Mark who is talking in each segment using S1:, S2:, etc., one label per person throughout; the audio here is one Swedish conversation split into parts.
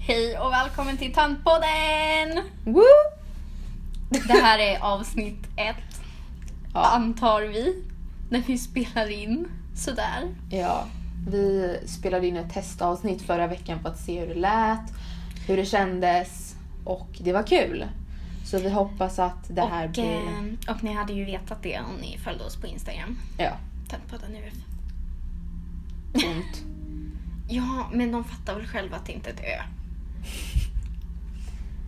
S1: Hej och välkommen till Tantpodden!
S2: Woo!
S1: Det här är avsnitt ett, antar vi, när vi spelar in sådär.
S2: Ja, vi spelade in ett testavsnitt förra veckan för att se hur det lät, hur det kändes och det var kul. Så vi hoppas att det här
S1: och,
S2: blir...
S1: eh, och ni hade ju vetat det om ni följde oss på Instagram.
S2: Ja,
S1: Tantpodden UF.
S2: ont.
S1: Ja, men de fattar väl själva att det inte är ett ö.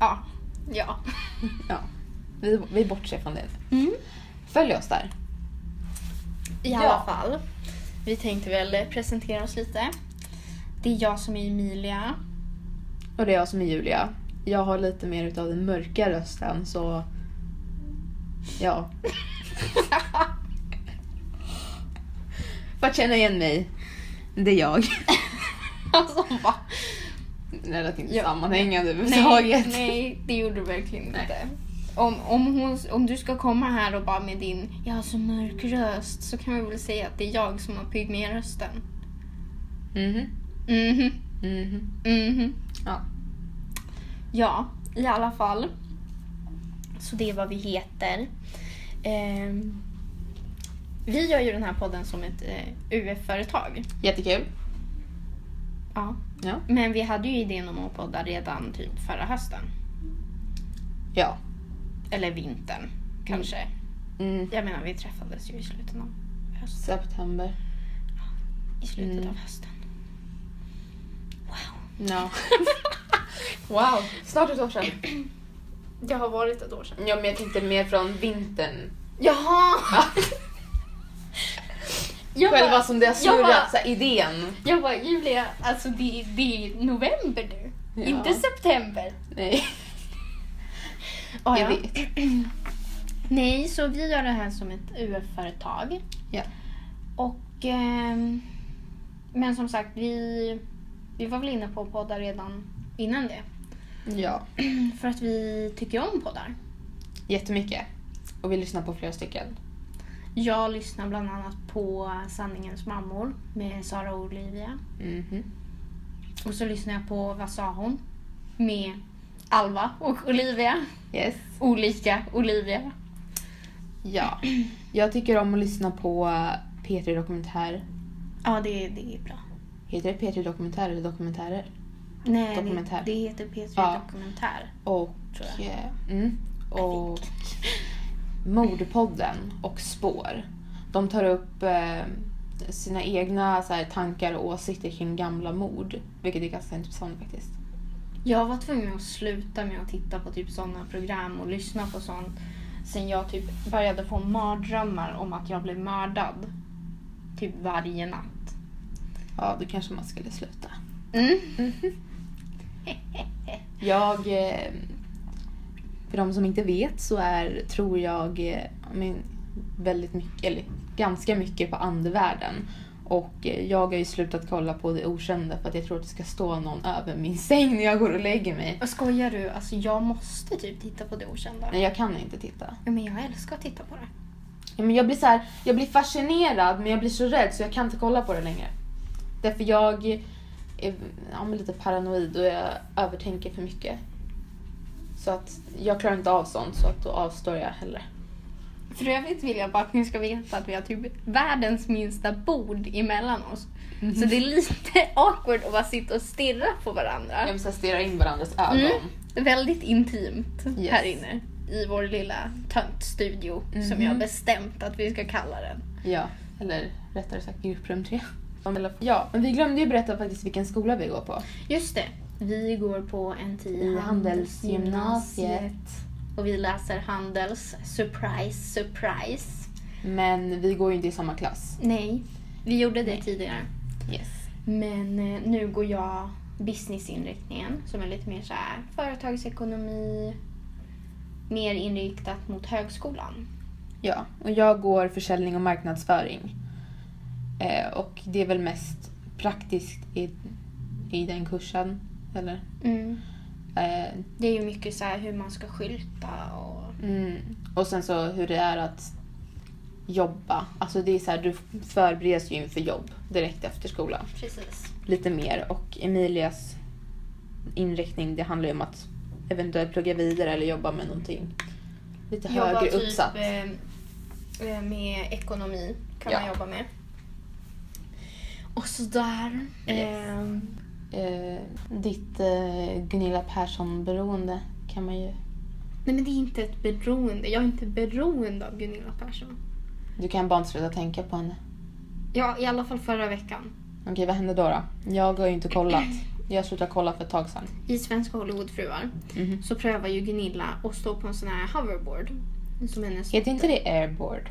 S1: Ja. Ja.
S2: Ja. Vi, vi bortser från det nu.
S1: Mm.
S2: Följ oss där.
S1: I
S2: Ja.
S1: alla fall. Vi tänkte väl presentera oss lite. Det är jag som är Emilia.
S2: Och det är jag som är Julia. Jag har lite mer utav den mörka rösten så... Ja. För att känna igen mig. Det är jag.
S1: Alltså, va?
S2: Det lät inte
S1: Ja.
S2: sammanhängande
S1: Nej,
S2: överhuvudtaget.
S1: nej, det gjorde du verkligen
S2: Nej.
S1: inte. Om, om, hon, om du ska komma här och bara med din jag har så mörk röst så kan vi väl säga att det är jag som har pygmérösten.
S2: Mhm.
S1: Mhm,
S2: Mhm.
S1: mhm.
S2: Ja.
S1: Ja, i alla fall. Så det är vad vi heter. Ehm, vi gör ju den här podden som ett eh, UF-företag.
S2: Jättekul.
S1: Ja.
S2: Ja.
S1: Men vi hade ju idén om att podda redan typ förra hösten.
S2: Ja.
S1: Eller vintern kanske.
S2: Mm.
S1: Jag menar vi träffades ju i slutet av hösten.
S2: September.
S1: I slutet
S2: Mm.
S1: av hösten. Wow.
S2: Ja. wow. Snart ett år sedan.
S1: Det har varit ett år sedan.
S2: Ja men jag tänkte mer från vintern.
S1: Jaha! Jag
S2: Själva
S1: bara,
S2: som det har
S1: jag bara-
S2: snurrat, så här, idén.
S1: jag bara, Julia, alltså det, är- det är november nu.
S2: Ja.
S1: Inte september.
S2: Nej.
S1: Ah,
S2: Jag
S1: ja.
S2: vet.
S1: Nej, så vi gör det här som ett UF-företag.
S2: Ja.
S1: Och... ehm, men som sagt, vi, vi var väl inne på att podda redan innan det.
S2: Ja.
S1: För att vi tycker om poddar.
S2: Jättemycket. Och vi lyssnar på flera stycken.
S1: Jag lyssnar bland annat på Sanningens mammor med Sara och Olivia.
S2: Mhm.
S1: Och så lyssnar jag på Vad sa hon? Med Alva och Olivia.
S2: Yes.
S1: Olika Olivia.
S2: Ja. Jag tycker om att lyssna på P3 Dokumentär.
S1: Ja, det, det är bra.
S2: Heter det P3 Dokumentär eller Dokumentärer?
S1: Nej,
S2: Dokumentär.
S1: Det, det heter P3
S2: Ja.
S1: Dokumentär.
S2: Och...
S1: Tror
S2: eh, Mm, och Mordpodden och Spår. De tar upp eh, sina egna så här, tankar och åsikter kring gamla mord. Vilket är ganska intressant faktiskt.
S1: Jag var tvungen att sluta med att titta på typ sådana program och lyssna på sånt sen jag typ började få mardrömmar om att jag blev mördad. Typ varje natt.
S2: Ja, då kanske man skulle sluta.
S1: Mm.
S2: Jag... Eh, för de som inte vet så är, tror jag, eh, ja, men, väldigt mycket, eller ganska mycket på andevärlden. Och eh, jag har ju slutat kolla på det okända för att jag tror att det ska stå någon över min säng när jag går och lägger mig.
S1: Och Skojar du? Alltså jag måste typ titta på det okända.
S2: Nej, jag kan inte titta.
S1: Ja, Men jag älskar att titta på det.
S2: Ja, men jag, blir så här, jag blir fascinerad men jag blir så rädd så jag kan inte kolla på det längre. Därför jag är ja, men lite paranoid och jag övertänker för mycket. Så att jag klarar inte av sånt så att då avstår jag heller.
S1: För övrigt vill jag bara att ni ska veta att vi har typ världens minsta bord emellan oss. Så
S2: Mhm.
S1: det är lite awkward att bara sitta och stirra på varandra.
S2: Jag stirrar in varandras ögon.
S1: Mm. Väldigt intimt
S2: Yes.
S1: här inne i vår lilla töntstudio som
S2: Mhm.
S1: jag har bestämt att vi ska kalla den.
S2: Ja, eller rättare sagt grupprum tre. Ja, men vi glömde ju berätta faktiskt vilken skola vi går på.
S1: Just det, vi går på NTI
S2: I
S1: Handelsgymnasiet
S2: Handelsgymnasiet.
S1: och vi läser Handels. Surprise, surprise.
S2: Men vi går ju inte i samma klass.
S1: Nej, vi gjorde det
S2: Nej.
S1: tidigare.
S2: Yes.
S1: Men eh, nu går jag businessinriktningen som är lite mer så här företagsekonomi, mer inriktat mot högskolan.
S2: Ja, och jag går försäljning och marknadsföring. Eh, och det är väl mest praktiskt i, i den kursen. Eller?
S1: Mm.
S2: Eh,
S1: Det är ju mycket så här hur man ska skylta och...
S2: mm. Och sen så hur det är att jobba. Alltså det är så här, du förbereds ju inför jobb direkt efter skolan.
S1: Precis.
S2: Lite mer. Och Emilias inriktning, det handlar ju om att eventuellt plugga vidare eller jobba med någonting lite
S1: Jobba
S2: högre
S1: typ
S2: uppsatt.
S1: eh, med ekonomi kan
S2: Ja.
S1: man jobba med. Och sådär.
S2: Yes.
S1: Eh,
S2: Eh, ditt eh, Gunilla Persson-beroende kan man ju...
S1: nej men det är inte ett beroende. Jag är inte beroende av Gunilla Persson.
S2: Du kan bara inte sluta tänka på henne.
S1: Ja, i alla fall förra veckan.
S2: Okej, vad hände då? då? Jag har ju inte kollat. Jag slutade kolla för ett tag sedan.
S1: I Svenska Hollywoodfruar
S2: Mhm.
S1: så prövar ju Gunilla att stå på en sån här hoverboard. Som hennes...
S2: Heter inte det airboard?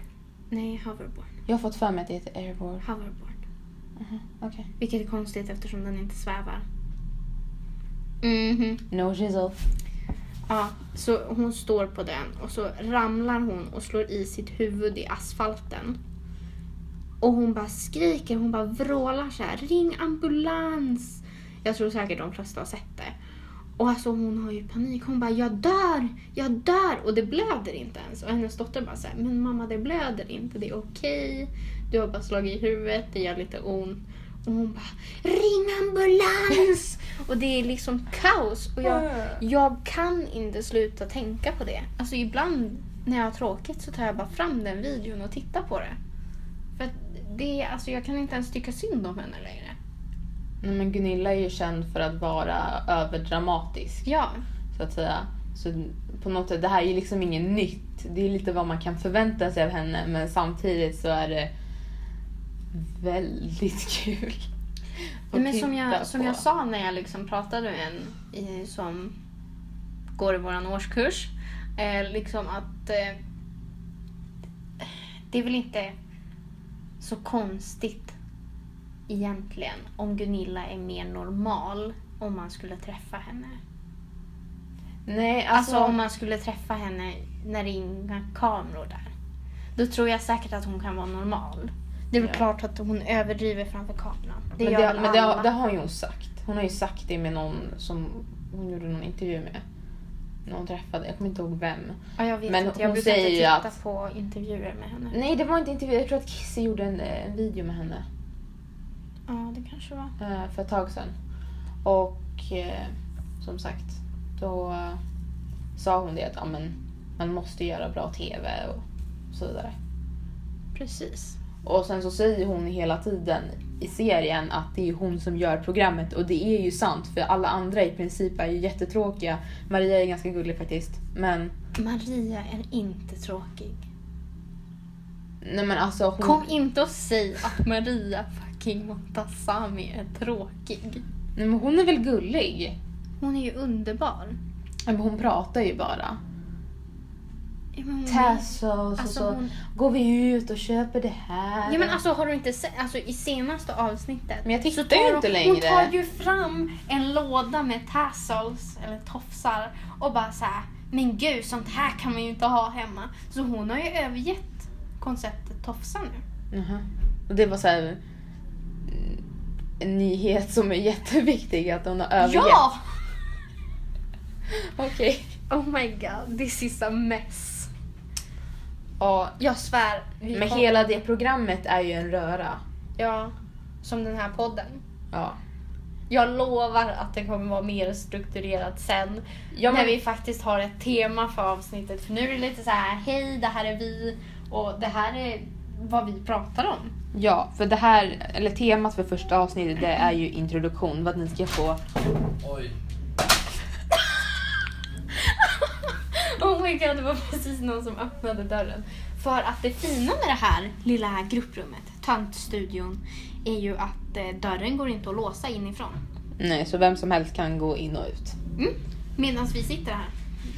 S1: Nej, hoverboard.
S2: Jag har fått för mig att det heter airboard.
S1: Hoverboard.
S2: Mhm, Okej.
S1: Vilket är konstigt eftersom den inte svävar. Mhm.
S2: No shizzle.
S1: Ja, så hon står på den och så ramlar hon och slår i sitt huvud i asfalten. Och hon bara skriker, hon bara vrålar så här, ring ambulans! Jag tror säkert de flesta har sett det. Och alltså hon har ju panik, hon bara jag dör, jag dör! Och det blöder inte ens. Och hennes dotter bara säger men mamma det blöder inte, det är okej. Du har bara slagit i huvudet, det gör lite ont. Och hon bara ring ambulans! och det är liksom kaos. Och jag, jag kan inte sluta tänka på det. Alltså ibland när jag har tråkigt så tar jag bara fram den videon och tittar på det. För att det, alltså jag kan inte ens tycka synd om henne längre.
S2: Nej, men Gunilla är ju känd för att vara överdramatisk.
S1: Ja,
S2: Så att säga. Så på något sätt, det här är ju liksom inget nytt. Det är lite vad man kan förvänta sig av henne. Men samtidigt så är det väldigt kul. att
S1: men som
S2: titta
S1: jag, som
S2: på.
S1: jag sa när jag liksom pratade med en i, som går i vår årskurs. Eh, liksom att eh, det är väl inte så konstigt egentligen om Gunilla är mer normal om man skulle träffa henne.
S2: Nej,
S1: Alltså
S2: alltså,
S1: om man skulle träffa henne när det är inga kameror där. Då tror jag säkert att hon kan vara normal. Det är väl
S2: Ja.
S1: klart att hon överdriver framför kameran. Det
S2: men
S1: gör
S2: det,
S1: väl
S2: men det, har-
S1: alla.
S2: det har ju hon sagt. Hon har ju sagt det med någon som hon gjorde någon intervju med. När hon träffade, jag kommer inte ihåg vem.
S1: ja, jag vet
S2: men
S1: inte, jag
S2: hon
S1: brukar inte
S2: säger ju
S1: titta
S2: att-
S1: på intervjuer med henne.
S2: Nej, det var inte intervju. Jag tror att Kissy gjorde en, eh, en video med henne.
S1: Ja, det kanske var.
S2: eh, för ett tag sedan. Och eh, som sagt, då eh, sa hon det att ja, men, man måste göra bra TV och så vidare.
S1: Precis.
S2: Och sen så säger hon hela tiden i serien att det är hon som gör programmet och det är ju sant för alla andra i princip är ju jättetråkiga. Maria är ganska gullig faktiskt. Men,
S1: Maria är inte tråkig.
S2: nej men alltså hon...
S1: Kom inte och säg att Maria fucking Montazami är tråkig.
S2: Nej, men hon är väl gullig?
S1: Hon är ju underbar.
S2: Ja, Men hon pratar ju bara.
S1: Ja, men hon är-
S2: Tess och så,
S1: Mm. Alltså,
S2: så
S1: hon-
S2: går vi ut och köper det här.
S1: Ja men alltså har du inte sett, alltså i senaste avsnittet.
S2: Men jag tittar
S1: så tar
S2: ju
S1: hon-
S2: inte
S1: Hon
S2: längre.
S1: tar ju fram en låda med tassels, eller tofsar, och bara så här. men gud sånt här kan man ju inte ha hemma. Så hon har ju övergett konceptet tofsar nu.
S2: Jaha. Och det var så här mm, en nyhet som är jätteviktig att hon har övergett.
S1: Ja!
S2: Okej.
S1: Oh my god, this is a mess.
S2: Ja,
S1: Jag svär. vi
S2: men
S1: har-
S2: hela det programmet är ju en röra.
S1: Ja, som den här podden.
S2: Ja.
S1: Jag lovar att det kommer vara mer strukturerat sen.
S2: Ja,
S1: När
S2: men-
S1: vi faktiskt har ett tema för avsnittet. För nu är det lite så här, hej det här är vi och det här är vad vi pratar om.
S2: Ja, för det här, eller temat för första avsnittet det är ju introduktion. Vad ni ska få.
S3: Oj.
S1: oh my god, det var precis någon som öppnade dörren. För att det fina med det här lilla här grupprummet, tantstudion, är ju att eh, dörren går inte att låsa inifrån.
S2: Nej, så vem som helst kan gå in och ut.
S1: Mm. Medan vi sitter här.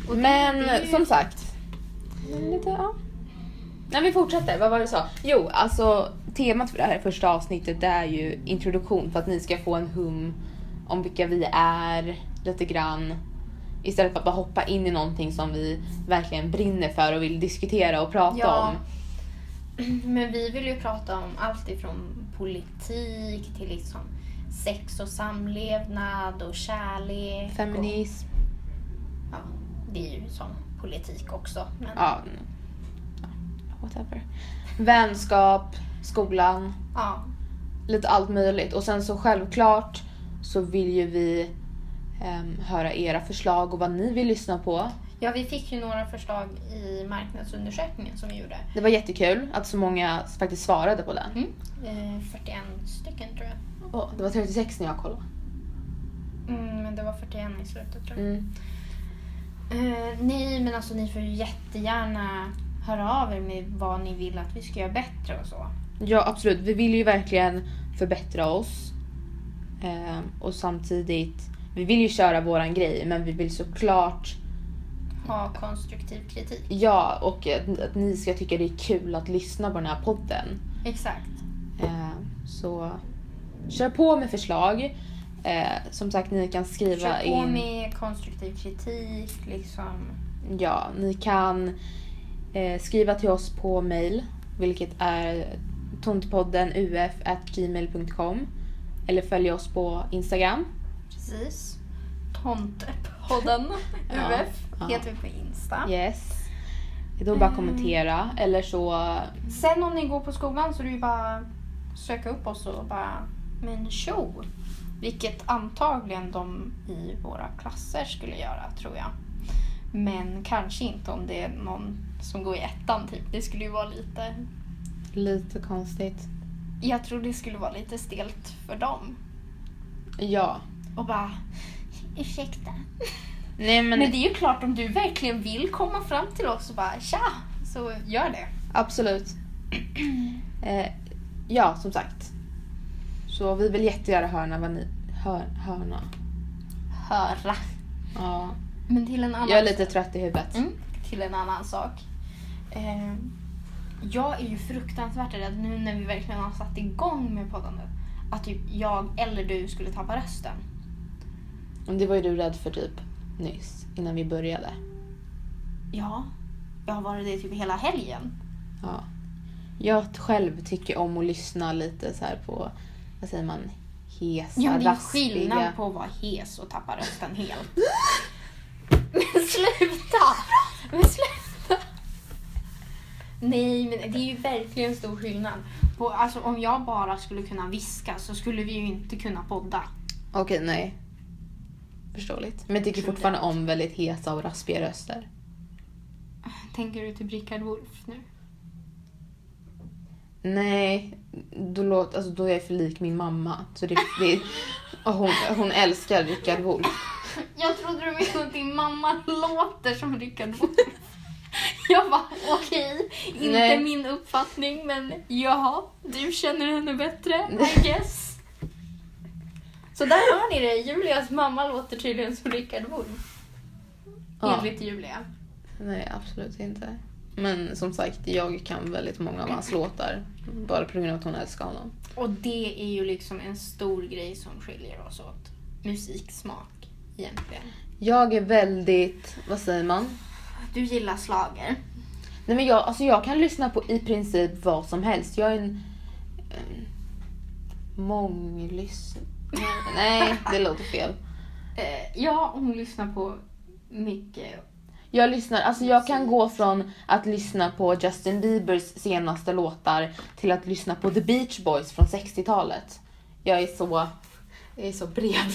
S1: Och det-
S2: Men
S1: det är ju-
S2: som sagt. Men Lite, ja. Nej, vi fortsätter. Vad var det du sa? Jo, alltså temat för det här första avsnittet det är ju introduktion för att ni ska få en hum om vilka vi är lite grann. Istället för att bara hoppa in i någonting som vi verkligen brinner för och vill diskutera och prata
S1: Ja.
S2: om.
S1: Men vi vill ju prata om allt ifrån politik till liksom sex och samlevnad och kärlek.
S2: Feminism.
S1: Och, ja, det är ju som politik också. Men, ja.
S2: Ja. Ja, Whatever. Vänskap, skolan. lite allt möjligt. Och sen så självklart så vill ju vi ehm, höra era förslag och vad ni vill lyssna på.
S1: Ja, vi fick ju några förslag i marknadsundersökningen som vi gjorde.
S2: Det var jättekul att så många faktiskt svarade på den.
S1: Eh, 41 stycken tror jag.
S2: Åh, det var 36 när jag kollade.
S1: Mm, men det var 41 i slutet tror jag.
S2: Mm.
S1: Eh, nej, men alltså ni får ju jättegärna höra av er med vad ni vill att vi ska göra bättre och så.
S2: Ja, absolut. Vi vill ju verkligen förbättra oss. Ehm, och samtidigt, vi vill ju köra våran grej men vi vill såklart
S1: Ha konstruktiv kritik.
S2: Ja, och att, att ni ska tycka det är kul att lyssna på den här podden.
S1: Exakt.
S2: Eh, så kör på med förslag. Eh, som sagt, ni kan skriva
S1: Kör på
S2: in...
S1: med konstruktiv kritik, liksom.
S2: Ja, ni kan eh, skriva till oss på mail, vilket är tontpoddenuf.gmail.com eller följ oss på Instagram.
S1: Precis. Tomtepodden
S2: Ja,
S1: UF
S2: ja.
S1: heter vi på Insta.
S2: Yes. Då bara
S1: Mm.
S2: kommentera eller så...
S1: Sen om ni går på skolan så är det ju bara att söka upp oss och bara men tjo. Vilket antagligen de i våra klasser skulle göra tror jag. Men kanske inte om det är någon som går i ettan typ. Det skulle ju vara lite...
S2: Lite konstigt.
S1: Jag tror det skulle vara lite stelt för dem.
S2: Ja.
S1: Och bara ursäkta.
S2: Nej men,
S1: Men det är ju klart om du verkligen vill komma fram till oss och bara tja, så gör det.
S2: Absolut. Eh, ja, som sagt. Så vi vill jättegärna höra vad ni... Hör, hörna.
S1: Höra.
S2: Ja.
S1: Men till en annan
S2: Jag är lite trött i huvudet.
S1: Mm, till en annan sak. Eh, jag är ju fruktansvärt rädd nu när vi verkligen har satt igång med poddandet. Att typ jag eller du skulle tappa rösten.
S2: Men Det var ju du rädd för typ nyss, innan vi började.
S1: Ja, jag har varit det typ hela helgen.
S2: Ja. Jag själv tycker om att lyssna lite så här på, vad säger man, hesa,
S1: Ja, men det är ju
S2: raspiga...
S1: skillnad på att vara hes och tappa rösten helt. Men sluta! Men sluta! Nej, men det är ju verkligen stor skillnad. Och alltså, om jag bara skulle kunna viska så skulle vi ju inte kunna podda.
S2: Okej, nej. Förståeligt. Men jag tycker fortfarande om väldigt hesa och raspiga röster.
S1: Tänker du till Rickard Wolff nu?
S2: Nej, då, låt, alltså, då är jag för lik min mamma. Så det, det, och hon, hon älskar Rickard Wolff.
S1: Jag trodde du menade att din mamma låter som Rickard Wolff. Jag bara, okej, inte
S2: Nej.
S1: min uppfattning men jaha, du känner henne bättre, I guess. Så där hör ni det, Julias mamma låter tydligen som Rickard Wolff,
S2: Ja,
S1: enligt Julia.
S2: nej, absolut inte. Men som sagt, jag kan väldigt många av hans låtar. Bara på grund av att hon älskar honom.
S1: Och det är ju liksom en stor grej som skiljer oss åt. Musiksmak, egentligen.
S2: Jag är väldigt, vad säger man?
S1: Du gillar slager.
S2: Nej men jag, alltså jag kan lyssna på i princip vad som helst. Jag är en... en månglys... Nej, det låter fel.
S1: Eh, ja, hon lyssnar på mycket
S2: Jag lyssnar, alltså jag kan gå från att lyssna på Justin Biebers senaste låtar till att lyssna på The Beach Boys från 60-talet. Jag är så, jag är så bred.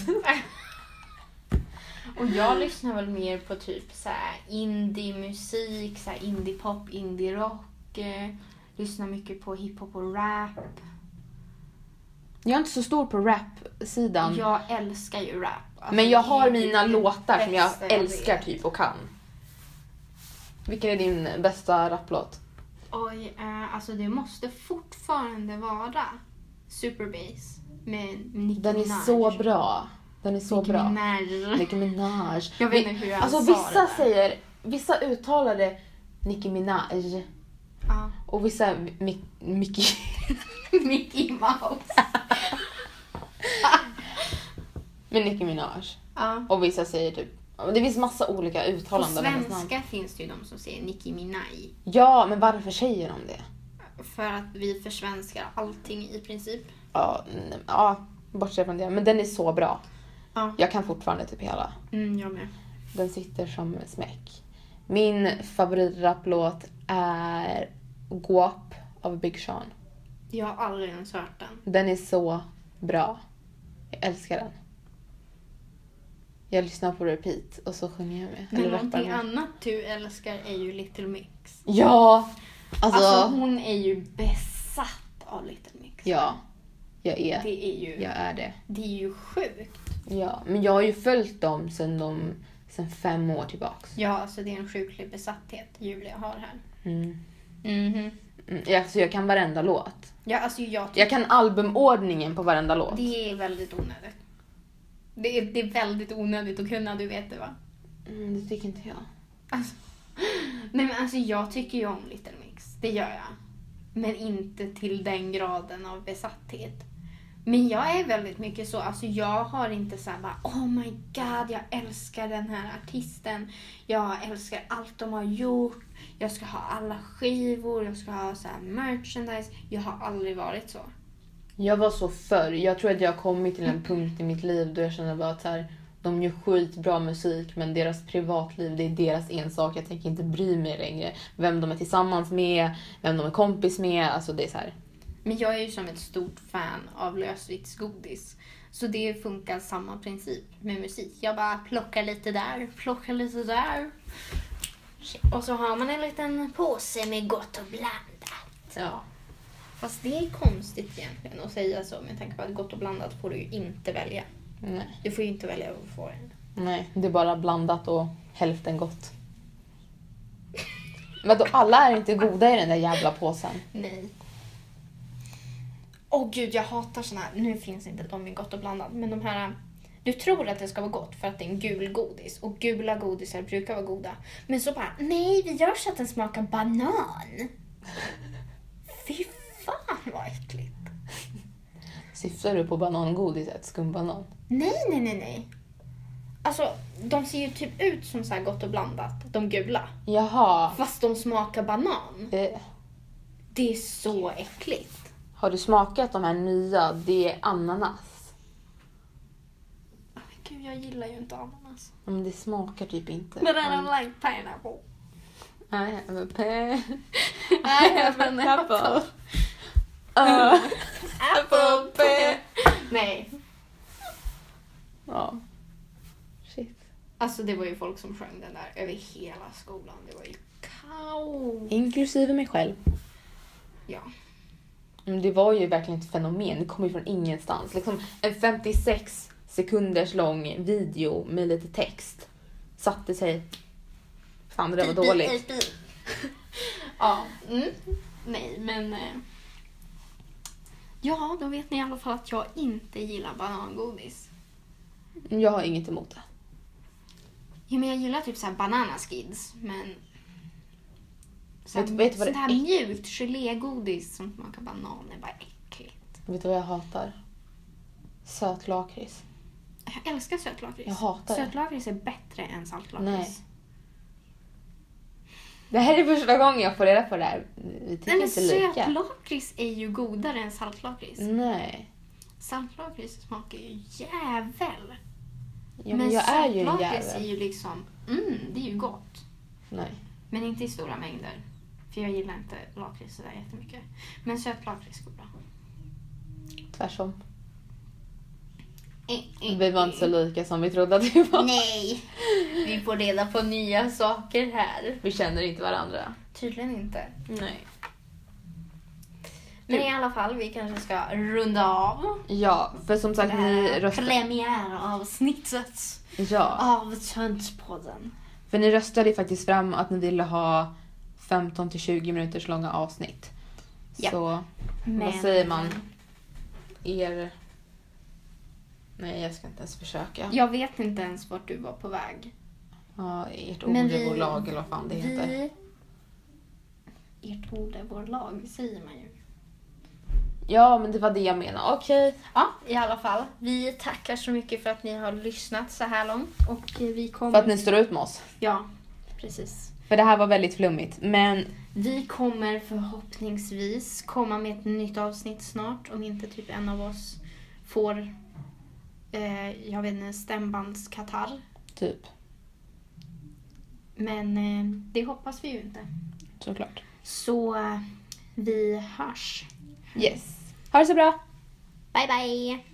S1: Och jag lyssnar väl mer på typ så här indie-musik, så här indie-pop, indie-rock. Eh, lyssnar mycket på hiphop och rap.
S2: Jag är inte så stor på rap-sidan.
S1: Jag älskar ju rap. Alltså,
S2: men jag
S1: det
S2: har
S1: är typ
S2: mina
S1: det
S2: låtar som jag
S1: bästa
S2: älskar
S1: vet.
S2: typ och kan. Vilken är din bästa raplåt?
S1: Oj, eh, alltså det måste fortfarande vara Superbass med Nicki
S2: Den
S1: Minaj.
S2: är så bra. Den är så
S1: Nicki
S2: bra.
S1: Minaj.
S2: Nicki Minaj.
S1: Jag vet inte hur jag
S2: alltså
S1: sa det
S2: vissa
S1: där.
S2: säger, vissa uttalar det Nicki Minaj
S1: Ja.
S2: och vissa Mi- Mickey.
S1: Mickey Mouse.
S2: Men Nicki Minaj.
S1: Ja.
S2: Och vissa säger typ, det finns massa olika
S1: På
S2: uttalanden av hennes namn.
S1: svenska finns det ju de som säger Nicki Minaj.
S2: Ja, men varför säger de det?
S1: För att vi försvenskar allting i princip.
S2: Ja, nej, ja, bortsett från det. Men den är så bra.
S1: Ja.
S2: Jag kan fortfarande typ hela.
S1: Mm, jag med.
S2: Den sitter som smäck. Min favoritraplåt är Gå upp av Big Sean.
S1: Jag har aldrig ens hört den.
S2: Den är så bra. Jag älskar den. Jag lyssnar på repeat och så sjunger jag med.
S1: Men
S2: eller
S1: någonting
S2: rappar med.
S1: annat du älskar är ju Little Mix.
S2: Ja! Alltså,
S1: Alltså, hon är ju besatt av Little Mix.
S2: ja. Jag är,
S1: Det är ju,
S2: jag är det.
S1: det är ju sjukt.
S2: Ja, men jag har ju följt dem sen, de, sen fem år tillbaks.
S1: Ja, alltså det är en sjuklig besatthet Julia har här.
S2: Mm.
S1: Mhm.
S2: Mm, ja, så jag kan varenda låt.
S1: Ja, alltså jag tycker
S2: Jag kan albumordningen på varenda låt.
S1: det är väldigt onödigt. Det är, det är väldigt onödigt att kunna, du vet det va?
S2: Mm, det tycker inte jag.
S1: Alltså, nej men alltså jag tycker ju om Little Mix, det gör jag. Men inte till den graden av besatthet. Men jag är väldigt mycket så, alltså jag har inte så här bara oh my god jag älskar den här artisten. Jag älskar allt de har gjort. Jag ska ha alla skivor, jag ska ha så här merchandise. Jag har aldrig varit så.
S2: Jag var så förr. Jag tror att jag har kommit till en punkt i mitt liv då jag känner bara att så här, de gör skitbra musik men deras privatliv det är deras ensak. Jag tänker inte bry mig längre. Vem de är tillsammans med, vem de är kompis med. Alltså det är så här.
S1: Men jag är ju som ett stort fan av lösviktsgodis. Så det funkar samma princip med musik. Jag bara plockar lite där, plockar lite där. Och så har man en liten påse med gott och blandat.
S2: Ja.
S1: Fast det är konstigt egentligen att säga så med tanke på att gott och blandat får du ju inte välja.
S2: Nej.
S1: Du får ju inte välja vad du får. än.
S2: Nej, det är bara blandat och hälften gott. Vadå, alla är inte goda i den där jävla påsen.
S1: Nej. Åh gud, jag hatar såna här. Nu finns inte de i gott och blandat, men de här... Du tror att det ska vara gott för att det är en gul godis och gula godisar brukar vara goda. Men så bara, nej vi gör så att den smakar banan. Fy fan vad äckligt.
S2: Syftar du på banangodiset, skumbanan?
S1: Nej, nej, nej, nej. Alltså, de ser ju typ ut som så här gott och blandat, de gula.
S2: Jaha.
S1: Fast de smakar banan.
S2: Eh,
S1: Det är så äckligt.
S2: har du smakat de här nya? Det är ananas.
S1: Oh, men gud, jag gillar ju inte ananas.
S2: Ja, Men det smakar typ inte.
S1: But I don't like pineapple.
S2: I have a pen.
S1: I have an apple. Apple pie. Nej.
S2: Ja. Shit.
S1: Alltså det var ju folk som sjöng den där över hela skolan. Det var ju kaos.
S2: Inklusive mig själv.
S1: Ja.
S2: Men Mm, det var ju verkligen ett fenomen. Det kom ju från ingenstans. Liksom en 56 sekunders lång video med lite text satte sig. Fan det där var
S1: eh,
S2: dåligt.
S1: ja. Mm. Nej men. eh, Ja, då vet ni i alla fall att jag inte gillar banangodis.
S2: Mm, Jag har inget emot det.
S1: Jo men jag gillar typ såhär bananaskids men... Såhär,
S2: Vet du- vet du vad det
S1: sånt här
S2: är?
S1: mjukt gelégodis som smakar banan är bara äckligt.
S2: Vet du vad jag hatar? Söt lakrits.
S1: Jag älskar sötlakrits.
S2: Jag hatar det.
S1: Sötlakrits är bättre än saltlakrits.
S2: Nej. Det här är första gången jag får reda på det här. Vi tycker
S1: Nej men
S2: inte Mm. lika.
S1: sötlakrits är ju godare än saltlakrits.
S2: Nej.
S1: Saltlakrits smakar ju jävel.
S2: Ja, men jag är ju en
S1: sötlakrits är
S2: jävel.
S1: ju liksom, mm, det är ju gott.
S2: Nej.
S1: Men inte i stora mängder. För jag gillar inte lakrits sådär jättemycket. Men sötlakrits går bra.
S2: Tvärtom.
S1: Eh, eh,
S2: Vi var inte så lika som vi trodde att vi var.
S1: Nej, vi får reda på nya saker här.
S2: Vi känner inte varandra.
S1: Tydligen inte.
S2: Nej.
S1: Men i alla fall, vi kanske ska runda av.
S2: Ja, för som sagt ni röstade...
S1: premiäravsnittet
S2: Ja,
S1: av Töntpodden.
S2: för ni röstade ju faktiskt fram att ni ville ha 15 till 20 minuters långa avsnitt.
S1: Ja.
S2: Så vad säger man? Er... Nej, jag ska inte ens försöka.
S1: Jag vet inte ens vart du var på väg.
S2: Ja, ert
S1: Men vi-
S2: ordbolag eller vad fan det heter.
S1: Vi... Ert ord är vår lag, säger man ju.
S2: Ja, men det var det jag menade. Okej.
S1: Ja, i alla fall. Vi tackar så mycket för att ni har lyssnat så här långt. Och eh, vi kommer...
S2: För att ni står ut med oss.
S1: Ja, precis.
S2: För det här var väldigt flummigt, men
S1: Vi kommer förhoppningsvis komma med ett nytt avsnitt snart om inte typ en av oss får, eh, jag vet inte, stämbandskatarr.
S2: typ.
S1: Men eh, det hoppas vi ju inte.
S2: Såklart.
S1: Så eh, vi hörs.
S2: Yes. Ha det så bra!
S1: Bye bye!